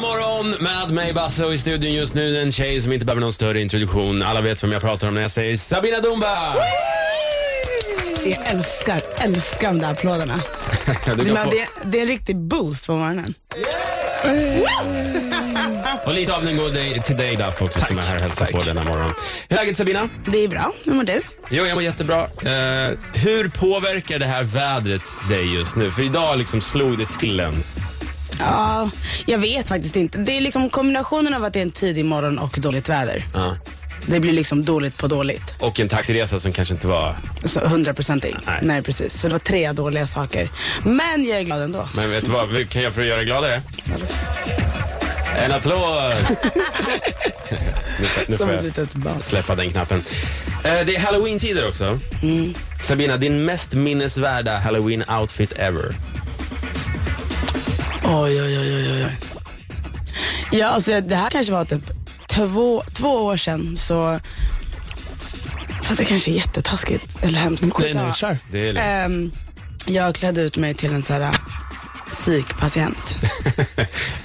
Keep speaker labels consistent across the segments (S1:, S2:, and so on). S1: morgon med mig Basse och i studion just nu en tjej som inte behöver någon större introduktion. Alla vet vem jag pratar om när jag säger Sabina Dumba!
S2: Jag älskar, älskar de där applåderna.
S1: Du
S2: Det,
S1: kan
S2: men
S1: få,
S2: det, det är en riktig boost på morgonen.
S1: och lite av den går dig, till dig Duff också som är här och hälsar på denna morgon. Hur är läget Sabina?
S2: Det är bra. Hur mår du?
S1: Jo, jag mår jättebra. Eh, hur påverkar det här vädret dig just nu? För idag liksom slog det till en.
S2: Ja, jag vet faktiskt inte. Det är liksom kombinationen av att det är en tidig morgon och dåligt väder.
S1: Ja.
S2: Det blir liksom dåligt på dåligt.
S1: Och en taxiresa som kanske inte var...
S2: Så hundraprocentig.
S1: Nej.
S2: Nej. Nej, precis. Så det var tre dåliga saker. Men jag är glad ändå.
S1: Men vet du vad, vad kan jag för att göra dig gladare? En applåd! nu, får- nu
S2: Som
S1: får
S2: ett
S1: jag
S2: litet barn.
S1: släppa den knappen. Eh, det är halloween-tider också.
S2: Mm.
S1: Sabina, din mest minnesvärda halloween-outfit ever.
S2: Oj, oj, oj, oj, oj, oj. Ja, alltså det här kanske var typ två, två år sedan så... Fast det kanske är jättetaskigt eller hemskt. Men
S3: Nej, nej,
S2: skitsamma.
S3: kör.
S1: Det är lite-
S2: Ehm, jag klädde ut mig till en sån här äh, psykpatient.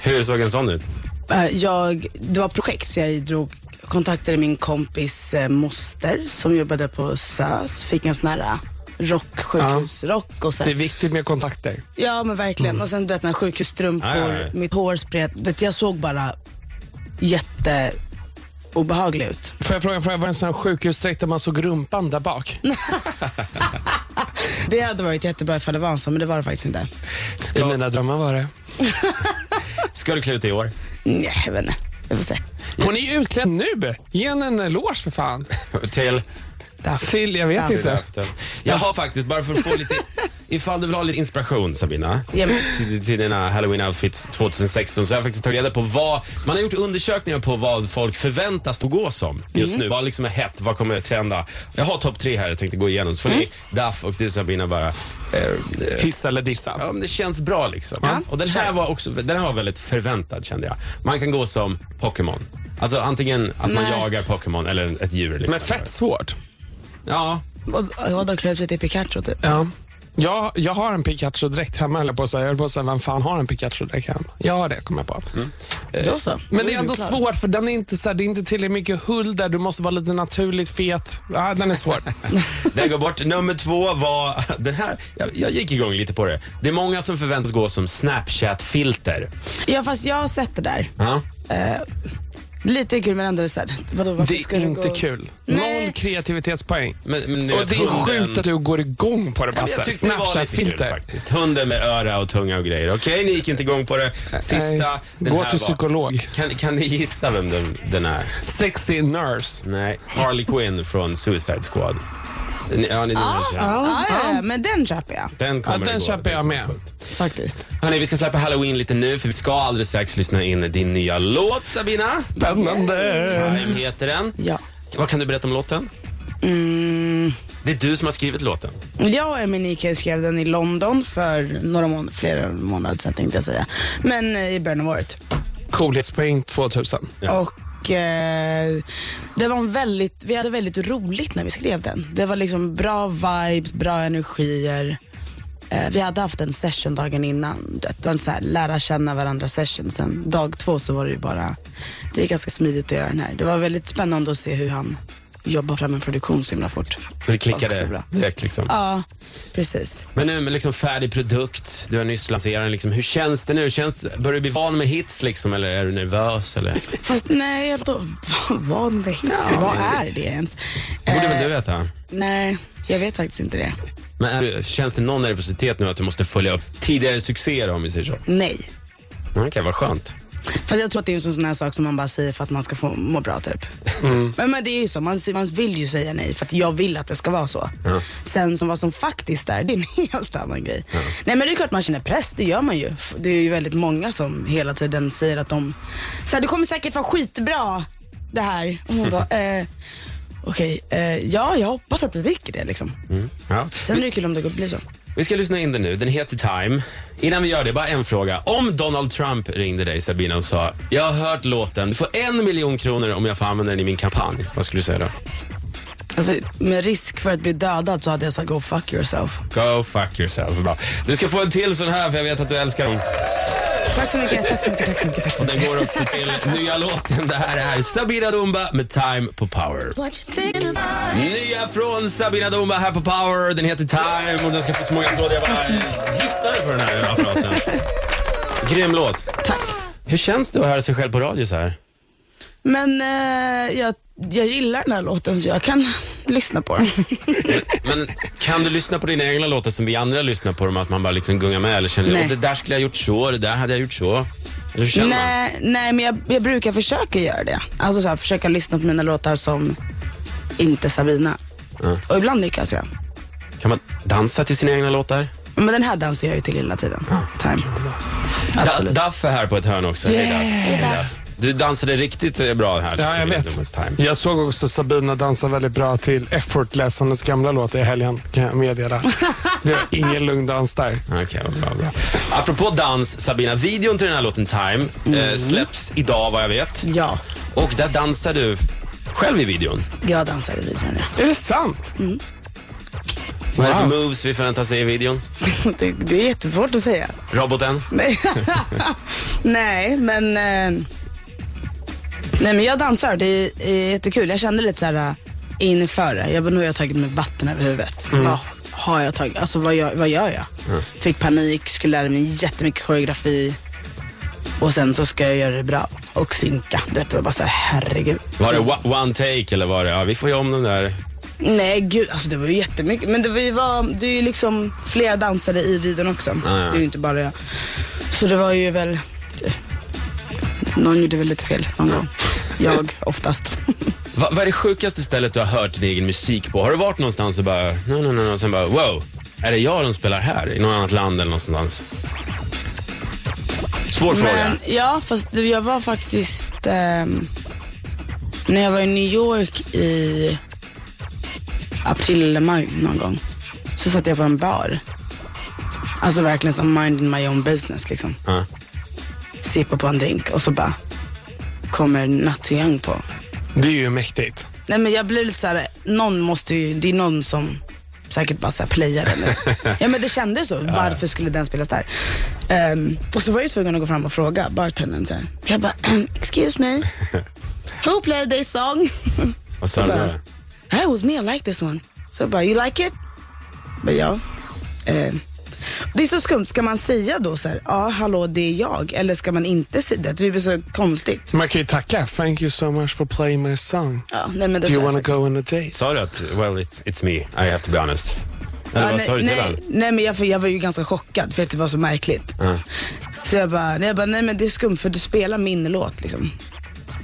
S1: Hur såg en sån ut?
S2: Eh, jag, det var projekt så jag drog, kontaktade min kompis eh, moster som jobbade på SÖS. Fick en sån här äh, rock, sjukhusrock och sen
S3: Det är viktigt med kontakter.
S2: Ja men verkligen. Och sen du vet, när sjukhusstrumpor,
S1: Ja, ja, ja.
S2: mitt hår spret. Du Vet, jag såg bara jätteobehaglig ut.
S3: Får jag fråga, får jag, var det en sån här sjukhusdräkt där man såg rumpan där bak?
S2: Det hade varit jättebra ifall det var en sån, men det var det faktiskt inte.
S3: I mina drömmar var det.
S1: Ska du klä ut dig i år?
S2: Nej, jag vet inte. Jag får se.
S3: Hon är ju utklädd nu. Ge henne en eloge för fan.
S1: Till?
S2: Där.
S3: Till, jag vet
S2: Ja.
S3: inte.
S1: Döften. Jag har faktiskt, bara för att få lite, ifall du vill ha lite inspiration Sabina,
S2: Ja, men-
S1: till, till dina halloween outfits 2016, så har jag faktiskt tagit reda på vad, man har gjort undersökningar på vad folk förväntas att gå som just
S2: Mm.
S1: nu. Vad liksom är hett, vad kommer att trenda? Jag har topp tre här jag tänkte gå igenom, så får ni
S2: Mm.
S1: Daff och du Sabina bara eh, eh,
S3: Hissa eller dissa.
S1: Ja, men det känns bra liksom. Och den här var också, den här var väldigt förväntad kände jag. Man kan gå som Pokémon. Alltså antingen att man
S2: Nej.
S1: jagar Pokémon eller ett djur. Liksom.
S3: Men fett svårt.
S1: Ja,
S2: Vad- Vadå, klä ut sig till Pikachu typ?
S3: Ja. Jag, jag har en Pikachu-dräkt hemma, eller på att säga. Jag höll på att säga, vem fan har en Pikachu-dräkt hemma? Jag har det, kommer jag på.
S2: Då så.
S3: Eh, Men det är ändå svårt, för den är inte så här, det är inte tillräckligt mycket hull där. Du måste vara lite naturligt fet. Ja, den är svår.
S1: Den går bort. Nummer två var... Den här, jag, jag gick igång lite på det. Det är många som förväntas gå som Snapchat-filter.
S2: Ja fast jag har sett det där.
S1: Ja.
S2: Lite kul men ändå såhär, vadå varför
S3: Det
S2: ska
S3: är
S2: du
S3: inte
S2: gå?
S3: kul.
S2: Nej.
S3: Noll kreativitetspoäng.
S1: Men, men, ni
S3: Och
S1: vet,
S3: det är
S1: hunden-
S3: sjukt att du går igång på det
S1: Ja, men jag
S3: Basse.
S1: tyckte det var lite kul
S3: Snapchat-filter.
S1: faktiskt. Hunden med öra och tunga och grejer. Okej, ni gick inte igång på det. Sista,
S3: Nej.
S1: den
S3: Gå
S1: här
S3: till
S1: var-
S3: psykolog.
S1: Kan, kan ni gissa vem den, den är?
S3: Sexy nurse.
S1: Nej, Harley Quinn från Suicide Squad. Ni- Ja, ni, ah,
S2: Ja, ja, ja, men den köper jag
S1: Den kommer
S3: Ja, den
S1: det gå.
S3: köper jag med.
S2: faktiskt.
S1: Hörni, vi ska släppa halloween lite nu för vi ska alldeles strax lyssna in din nya låt Sabina.
S3: Spännande.
S1: Time heter den.
S2: Ja.
S1: Vad kan du berätta om låten?
S2: Mm.
S1: Det är du som har skrivit låten.
S2: Jag och Emin Ike skrev den i London för några mån- flera månader sedan tänkte jag säga. Men eh, i början av året.
S3: Coolhetspoäng 2000.
S1: Ja.
S2: Och eh, det var en väldigt, vi hade väldigt roligt när vi skrev den. Det var liksom bra vibes, bra energier. Eh, vi hade haft en session dagen innan. Det var en så här lära känna varandra session. Sen dag två så var det ju bara, det är ganska smidigt att göra den här. Det var väldigt spännande att se hur han jobbar fram en produktion så himla fort.
S1: Så det
S2: Också
S1: klickade
S2: bra.
S1: direkt liksom.
S2: Ja, precis.
S1: Men nu med liksom färdig produkt, du har nyss lanserat den. Liksom, hur känns det nu? Känns, börjar du bli van med hits liksom eller är du nervös? Eller?
S2: Fast nej, jag då, vad med hits? vad är det ens?
S1: borde väl
S2: Eh,
S1: du veta?
S2: Nej, jag vet faktiskt inte det.
S1: Men är du, känns det någon nervositet nu att du måste följa upp tidigare succéer om vi säger så?
S2: Nej.
S1: Mm, Okej, vad skönt.
S2: För jag tror att det är en sån sån här sak som man bara säger för att man ska få må bra typ. Men, men det är ju så, man, man vill ju säga nej för att jag vill att det ska vara så. Sen som vad som faktiskt är, det är en helt annan grej. Nej men det är klart man känner press, det gör man ju. F- Det är ju väldigt många som hela tiden säger att de, så här, det kommer säkert vara skitbra det här. Och man bara, eh, okej, eh, ja jag hoppas att det rycker det liksom.
S1: Ja.
S2: Sen är det ju kul om det går- blir så.
S1: Vi ska lyssna in den nu. Den heter Time. Innan vi gör det, bara en fråga. Om Donald Trump ringde dig Sabina och sa “Jag har hört låten, du får en miljon kronor om jag får använda den i min kampanj”. Vad skulle du säga då?
S2: Alltså, med risk för att bli dödad så hade jag sagt go fuck yourself.
S1: Go fuck yourself. Bra. Du ska få en till sån här för jag vet att du älskar dem.
S2: Tack så mycket, tack så mycket, tack så mycket. Tack så
S1: Och
S2: mycket.
S1: den går också till nya låten. Det här är Sabina Dumba med Time på Power. Nya från Sabina Dumba här på Power. Den heter Time och den ska få så många applåder. Jag bara "Äh, hittar på den här jävla frasen. Grym låt. Tack. Hur känns det att höra sig själv på radio så här?
S2: Men eh, jag, jag gillar den här låten så jag kan lyssna på den.
S1: Men kan du lyssna på dina egna låtar som vi andra lyssnar på dem? Att man bara liksom gungar med eller känner
S2: Nej.
S1: att det där skulle jag gjort så, det där hade jag gjort så. Eller hur känner man?
S2: nej, nej, men jag, jag brukar försöka göra det. Alltså så här, försöka lyssna på mina låtar som inte Sabina. Och ibland lyckas jag.
S1: Kan man dansa till sina egna låtar?
S2: Men den här dansar jag ju till hela tiden. Time.
S1: Da-
S2: Absolut.
S1: Daff är här på ett hörn också. Hej Daff. Hej Daff. Du dansade riktigt eh, bra här. till
S3: Ja, jag
S1: Sabina
S3: vet.
S1: Dumbas Time.
S3: Jag såg också Sabina dansa väldigt bra till Effortless, hennes gamla låt i helgen, kan jag meddela. Det var ingen lugn dans där.
S1: Okej, vad bra, bra. Apropå dans, Sabina. Videon till den här låten Time
S2: Mm.
S1: eh, släpps idag vad jag vet.
S2: Ja,
S1: Och där dansar du f- själv i videon.
S2: jag dansar i videon.
S3: Är det sant?
S1: Vad är det för
S3: Wow.
S1: moves vi förväntar sig i videon?
S2: Det, det är jättesvårt att säga.
S1: Roboten?
S2: Nej, nej men eh, Nej men jag dansar, det är, är jättekul. Jag kände lite så här eh, inför det. Jag bara, nu har jag tagit mig vatten över huvudet. Vad har jag tagit? Alltså vad gör, vad gör jag? Fick panik, skulle lära mig jättemycket koreografi. Och sen så ska jag göra det bra och synka. Du vet, Det var bara så här, herregud.
S1: Var det wa- one take eller var det, ja vi får göra om den där.
S2: Nej gud, alltså det var ju jättemycket. Men det var ju, var, det är ju liksom flera dansare i videon också.
S1: ja.
S2: Det är ju inte bara jag. Så det var ju väl, någon gjorde väl lite fel någon gång. Jag oftast.
S1: Va, vad är det sjukaste stället du har hört din egen musik på? Har du varit någonstans och bara, no, no, no, no, och sen bara, wow, är det jag de spelar här? I något annat land eller någonstans? Svår fråga.
S2: Men ja, fast det- jag var faktiskt, ehm, när jag var i New York i april eller maj någon gång, så satt jag på en bar. Alltså verkligen som minding my own business liksom.
S1: Ja.
S2: sippa på en drink och så bara kommer Not Too Young på.
S3: Det är ju mäktigt.
S2: Nej men jag blir lite så här, någon måste ju, det är någon som säkert bara så här playar den nu. ja men det kändes så, varför skulle den spelas där? Ehm, och så var jag ju tvungen att gå fram och fråga bartendern så här. Jag bara, ehm, excuse me, who played this song?
S1: Vad sa du
S2: bara-
S1: då?
S2: I was me, I like this one. Så jag bara, you like it? Men ja. Eh, det är så skumt, ska man säga då så här, ja hallå det är jag, eller ska man inte säga det? Det blir så konstigt.
S3: Man kan ju tacka. Thank you so much for playing my song.
S2: Ja, nej men det
S3: Do you
S2: sa jag
S3: wanna
S2: faktiskt.
S3: go on a date?
S1: Sa du att, well it's, it's me, I have to be honest? Eller
S2: Ja,
S1: vad sa du
S2: nej,
S1: till
S2: nej,
S1: varandra?
S2: nej men jag, jag var ju ganska chockad för att det var så märkligt.
S1: Ja.
S2: Så jag bara, nej, jag bara, nej men det är skumt för du spelar min låt liksom.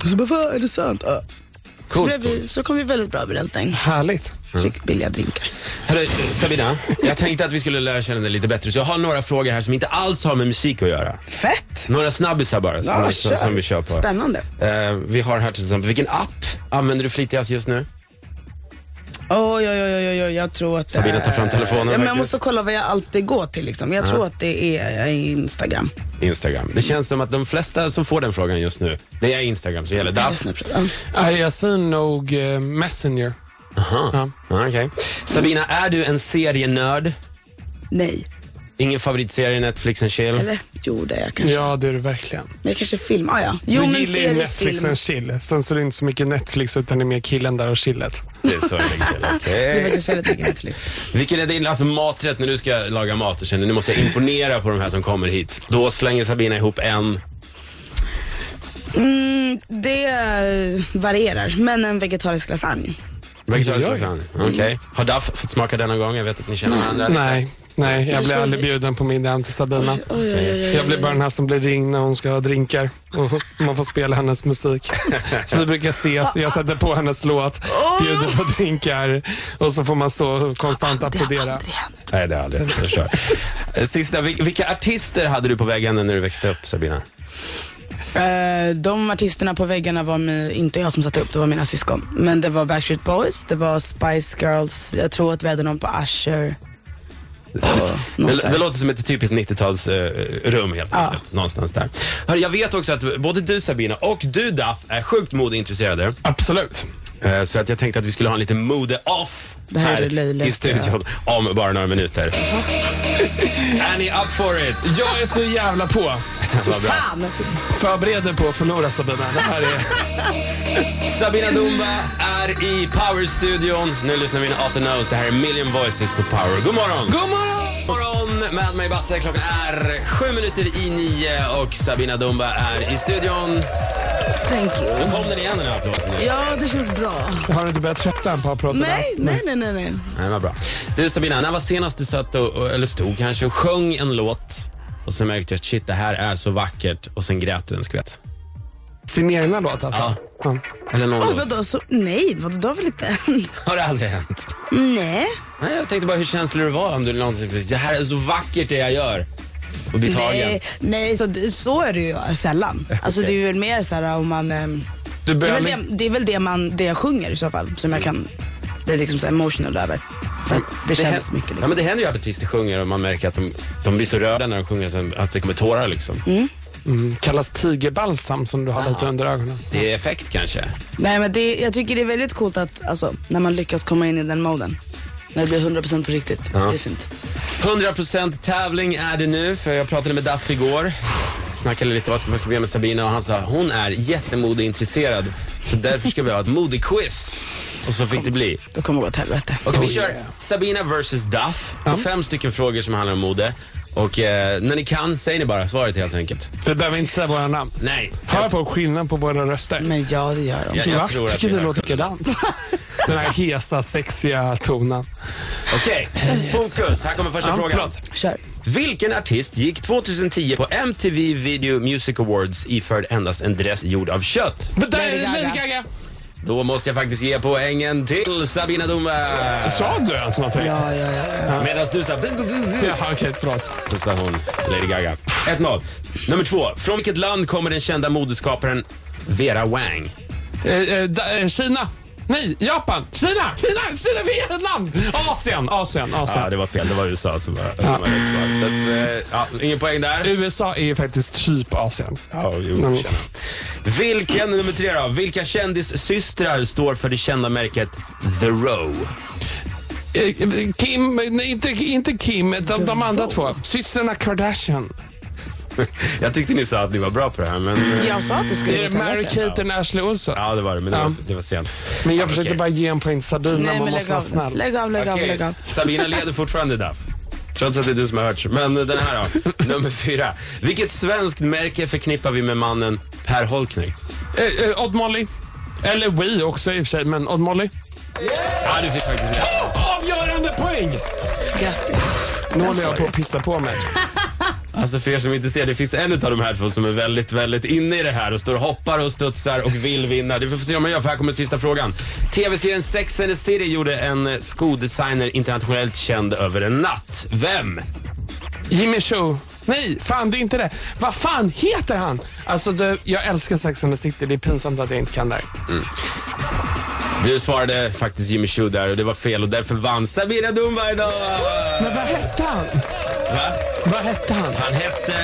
S2: Och så bara, vad är det sant? Ja. så,
S1: Coolt,
S2: blev vi, så kom vi väldigt bra överens där.
S3: Härligt.
S2: Fick billiga drinkar.
S1: Hörru, Sabina, jag tänkte att vi skulle lära känna dig lite bättre, så jag har några frågor här som inte alls har med musik att göra.
S2: Fett!
S1: Några snabbisar bara, som,
S2: Ja,
S1: som,
S2: kör.
S1: som vi kör på.
S2: Spännande.
S1: Eh, vi har här till exempel, vilken app använder du flitigast just nu?
S2: Oj, oj, oj, oj, oj, jag tror att...
S1: Sabina tar fram telefonen
S2: Ja, men jag
S1: faktiskt.
S2: måste kolla vad jag alltid går till. Liksom. Jag tror att det är eh, Instagram.
S1: Instagram. Det känns som att de flesta som får den frågan just nu, det är Instagram som gäller.
S2: Eller
S1: Daff?
S2: Snapchat. Ja.
S3: Nej, Jag säger nog eh, Messenger.
S1: Aha. Ja, okej. Sabina, är du en serienörd?
S2: Nej,
S1: Ingen favoritserie, Netflix and chill?
S2: eller jo det är jag kanske.
S3: Ja, det är det verkligen.
S2: Men kanske film. Ah, ja. Jo,
S3: du
S2: men
S3: gillar ju
S2: serie,
S3: Netflix
S2: film.
S3: och chill. Sen så är det inte så mycket Netflix utan det är mer killen där och chillet.
S1: Det är så jag tänker.
S2: Det är
S1: Okej.
S2: faktiskt väldigt mycket Netflix.
S1: Vilken är din alltså, maträtt när du ska laga mat och känner nu måste jag imponera på de här som kommer hit? Då slänger Sabina ihop en.
S2: Mm, det eh, varierar, men en vegetarisk lasagne.
S1: Vegetarisk
S3: Oj, oj.
S1: lasagne. Okej. Har Duff fått smaka den någon gång? Jag vet att ni känner varandra.
S3: Nej, nej, jag
S2: Du
S3: blir
S2: ska-
S3: aldrig bjuden på middag hem till Sabina.
S2: Oj, oj, oj, oj.
S3: Jag blir bara den här som blir ringd när hon ska ha drinkar och man får spela hennes musik. Så vi brukar ses, jag sätter på hennes låt, bjuder på drinkar och så får man stå och konstant
S2: Det har
S3: applådera.
S2: aldrig hänt.
S1: Nej, det har aldrig hänt. Jag kör. Sista, vil- vilka artister hade du på väggen när du växte upp, Sabina?
S2: Eh, de artisterna på väggarna var mi- inte jag som satte upp, det var mina syskon. Men det var Backstreet Boys, det var Spice Girls, jag tror att vi hade någon på Usher. Och någon så
S1: Det,
S2: här.
S1: det låter som ett typiskt 90-talsrum helt enkelt. Någonstans där. Hörru, jag vet också att både du Sabina och du Daff är sjukt modeintresserade.
S3: Absolut.
S1: Eh, Så att jag tänkte att vi skulle ha en liten mode-off
S2: Det här är det löjligaste
S1: i studion om bara några minuter. är ni up for it?
S3: Jag är så jävla på.
S1: Vad bra.
S2: Fan!
S3: Förbered dig på att förlora Sabina. Det här är...
S1: Sabina Dumba är i Power-studion. Nu lyssnar vi in Out Knows. Det här är Million Voices på Power. God morgon!
S3: God morgon!
S1: God morgon med mig Basse. Klockan är sju minuter i nio och Sabina Dumba är i studion.
S2: Thank you.
S1: Nu kom den igen den här applåden.
S2: Ja, det känns bra.
S3: Har du inte börjat tröttna på att prata
S2: Nej, nej, nej, nej. nej.
S1: Nej, vad bra. Du Sabina, när var senast du satt och- och, eller stod kanske och sjöng en låt och sen märkte jag att shit, det här är så vackert och sen grät du en skvätt?
S3: Sin egna låt alltså? Ja.
S1: Eller någon
S2: Oj,
S1: låt?
S2: vadå? Så, nej, vadå? Det har väl inte hänt?
S1: Har det aldrig hänt?
S2: Nej.
S1: Nej, jag tänkte bara hur känslig du var om du någonsin det här är så vackert det jag gör och blir tagen.
S2: Nej, nej så, så är det ju sällan. Alltså
S1: Okej.
S2: det är väl mer så här om man... ehm,
S3: Du
S2: Det är
S3: börjar
S2: väl det, det, är väl det, man, det jag sjunger i så fall som jag kan bli liksom så här emotional över. För att det känns
S1: hän-
S2: mycket
S1: Ja,
S2: liksom.
S1: men det händer ju att artister sjunger och man märker att de, de blir så rörda när de sjunger sen, att det kommer tårar. Liksom.
S3: mm, kallas tigerbalsam som du har lite under ögonen.
S1: Det är effekt kanske.
S2: Nej, men det, jag tycker det är väldigt coolt att, alltså, när man lyckas komma in i den moden. När det blir 100% på riktigt. Det är fint.
S1: 100% tävling är det nu, för jag pratade med Duff igår. Snackade lite vad ska- vad ska vi göra med Sabina och han sa hon är jättemodeintresserad så därför ska vi ha ett modequiz. Och så fick det bli.
S2: Då kommer det gå åt helvete.
S1: Okej, vi
S3: Oh,
S1: kör
S3: yeah.
S1: Sabina vs Duff. Det är Fem stycken frågor som handlar om mode. Och eh, när ni kan, säger ni bara svaret helt enkelt.
S3: Du behöver inte säga våra namn.
S1: Nej.
S3: Hör
S1: Jag,
S3: folk skillnad på våra röster?
S2: Men ja, det gör de.
S1: jag, jag
S3: Va?
S1: tror att
S3: tycker
S1: vi
S3: det
S1: hör
S3: låter
S1: skillnad.
S3: likadant. Den här hesa, sexiga tonen.
S1: Okej, fokus. Här kommer första
S3: Ja,
S1: frågan.
S3: förlåt.
S2: Kör.
S1: Vilken artist gick 2010 på MTV Video Music Awards iförd endast en dress gjord av kött?
S3: Men där är det
S2: Lady
S3: Lady
S2: Gaga.
S3: Gaga!
S1: Då måste jag faktiskt ge poängen till Sabina Dumba.
S3: Sa du ens någonting?
S2: Ja, ja, ja.
S1: Medan du sa
S3: Jaha, okej, förlåt.
S1: så sa hon Lady Gaga. 1-0. Nummer två. Från vilket land kommer den kända modeskaparen Vera Wang?
S3: Eh, eh, da- eh, Kina. Nej, Japan. Kina! Kina! Kina! Vietnam! Asien! Asien! Asien.
S1: Ja, det var fel. Det var USA som var, som var rätt svar. Så att, eh, ja, ingen poäng där.
S3: USA är ju faktiskt typ Asien.
S1: Ja,
S3: Mm.
S1: jo, jag känner. Vilken, nummer tre då. Vilka kändissystrar står för det kända märket The Row?
S3: Eh, eh, Kim, nej, inte, inte Kim, de, de andra två. Systrarna Kardashian.
S1: Jag tyckte ni sa att ni var bra på det här, men... eh,
S2: Jag sa att det skulle gå
S3: Är
S2: åt
S3: det Mary
S2: helvete.
S3: Kate och Ashley Olsson?
S1: Ja, det var det, men det var,
S3: Ja.
S1: det var sent.
S3: Men jag
S1: Ja,
S3: försökte
S1: okej.
S3: bara ge en poäng till Sabina,
S2: Nej,
S3: man
S2: men
S3: måste
S2: lägg
S3: vara
S2: av.
S3: snäll.
S2: Lägg av, lägg av,
S1: Okej,
S2: lägg av.
S1: Sabina leder fortfarande Duff. Trots att det är du som har hört. Men den här då, nummer fyra. Vilket svenskt märke förknippar vi med mannen Per Holkning?
S3: Eh, eh, Odd Molly. Eller We också i och för sig, men Odd Molly.
S1: Ja, du fick faktiskt rätt.
S3: Avgörande poäng!
S2: Grattis.
S3: Nu håller jag på att pissa på mig.
S1: Alltså för er som inte ser, det finns en av de här två som är väldigt, väldigt inne i det här och står och hoppar och studsar och vill vinna. Det får vi se om man gör, för här kommer sista frågan. TV-serien Sex and the City gjorde en eh, skodesigner internationellt känd över en natt. Vem?
S3: Jimmy Choo. Nej, fan det är inte det. Vad fan heter han? Alltså du, jag älskar Sex and the City. Det är pinsamt att jag inte kan det. här.
S1: Du svarade faktiskt Jimmy Choo där och det var fel och därför vann Sabina Dumba idag!
S3: Men vad hette han?
S1: Va?
S3: Vad hette han?
S1: Han hette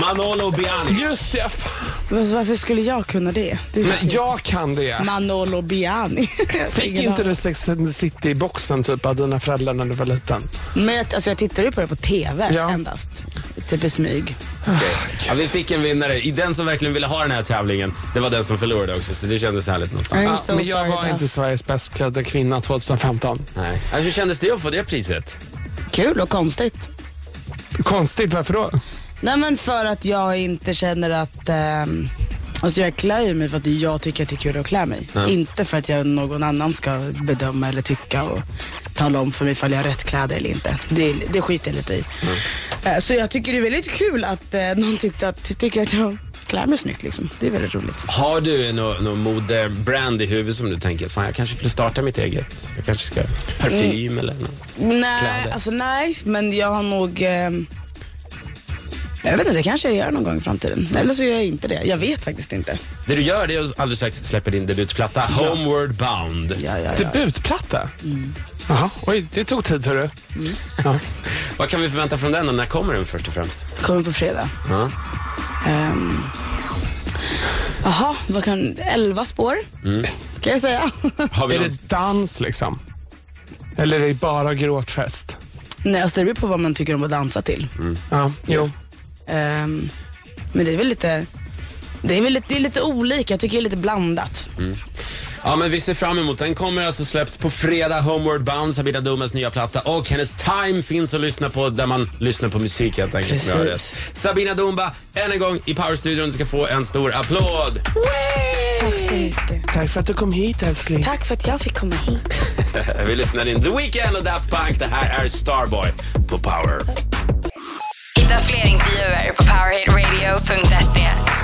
S1: Manolo Biani.
S3: Just det, fan.
S2: Fast Varför skulle jag kunna det? det är så
S3: Men
S2: fint.
S3: jag kan det.
S2: Manolo Biani.
S3: Fick inte du Sex and the City-boxen typ av dina föräldrar när du var liten?
S2: Men jag, alltså, jag tittar ju på det på TV
S3: Ja.
S2: endast. Typ i smyg.
S1: Ja, vi fick en vinnare. I den som verkligen ville ha den här tävlingen, det var den som förlorade också. Så det kändes härligt någonstans.
S2: I'm
S3: Ja,
S2: so
S3: men jag
S2: sorry,
S3: var
S2: Beth.
S3: inte Sveriges bäst klädda kvinna 2015.
S1: Nej. Alltså, hur kändes det att få det priset?
S2: Kul och konstigt.
S3: Konstigt, varför då?
S2: Nej men för att jag inte känner att... ehm, alltså jag klär ju mig för att jag tycker att det är kul att klä mig. Inte för att jag, någon annan ska bedöma eller tycka och tala om för mig ifall jag har rätt kläder eller inte. Det, det skiter jag lite i. Eh, Så jag tycker det är väldigt kul att eh, någon tyckte att, tycker att jag klär mig snyggt liksom. Det är väldigt roligt.
S1: Har du någon nå modebrand i huvudet som du tänker, fan jag kanske skulle starta mitt eget? Jag kanske ska parfym eller något.
S2: Nej,
S1: kläder?
S2: alltså nej, men jag har nog... ehm, jag vet inte, det kanske jag gör någon gång i framtiden. Eller så gör jag inte det. Jag vet faktiskt inte.
S1: Det du gör det är att alldeles strax släpper din debutplatta Homeward Bound.
S2: Ja, ja,
S3: Typ.
S2: ja.
S3: Debutplatta? Jaha, oj, det tog tid hörru. Ja.
S1: Vad kan vi förvänta från den och när kommer den först och främst?
S2: Kommer på fredag.
S1: Ja.
S2: Ehm, Jaha, vad kan... Elva spår. kan jag säga.
S1: Har vi
S3: Är
S1: någon...
S3: det dans liksom? Eller är det bara gråtfest?
S2: Nej, alltså det beror på vad man tycker om att dansa till.
S3: Ja, jo.
S2: Ehm, men det är väl lite... Det är, väl lite, det är lite olika, jag tycker det är lite blandat.
S1: Ja, men vi ser fram emot den. kommer alltså släpps på fredag. Homeward Bound, Sabina Dummes nya platta och hennes Time finns att lyssna på där man lyssnar på musik helt enkelt.
S2: Precis.
S1: Bra rätt. Sabina Dumba, än en gång i Powerstudion. Du ska få en stor applåd.
S2: Tack så mycket.
S3: Tack för att du kom hit älskling.
S2: Tack för att jag fick komma hit.
S1: Vi lyssnar in The Weeknd och Daft Punk. Det här är Starboy på Power.
S4: Hitta fler intervjuer på powerhitradio.se.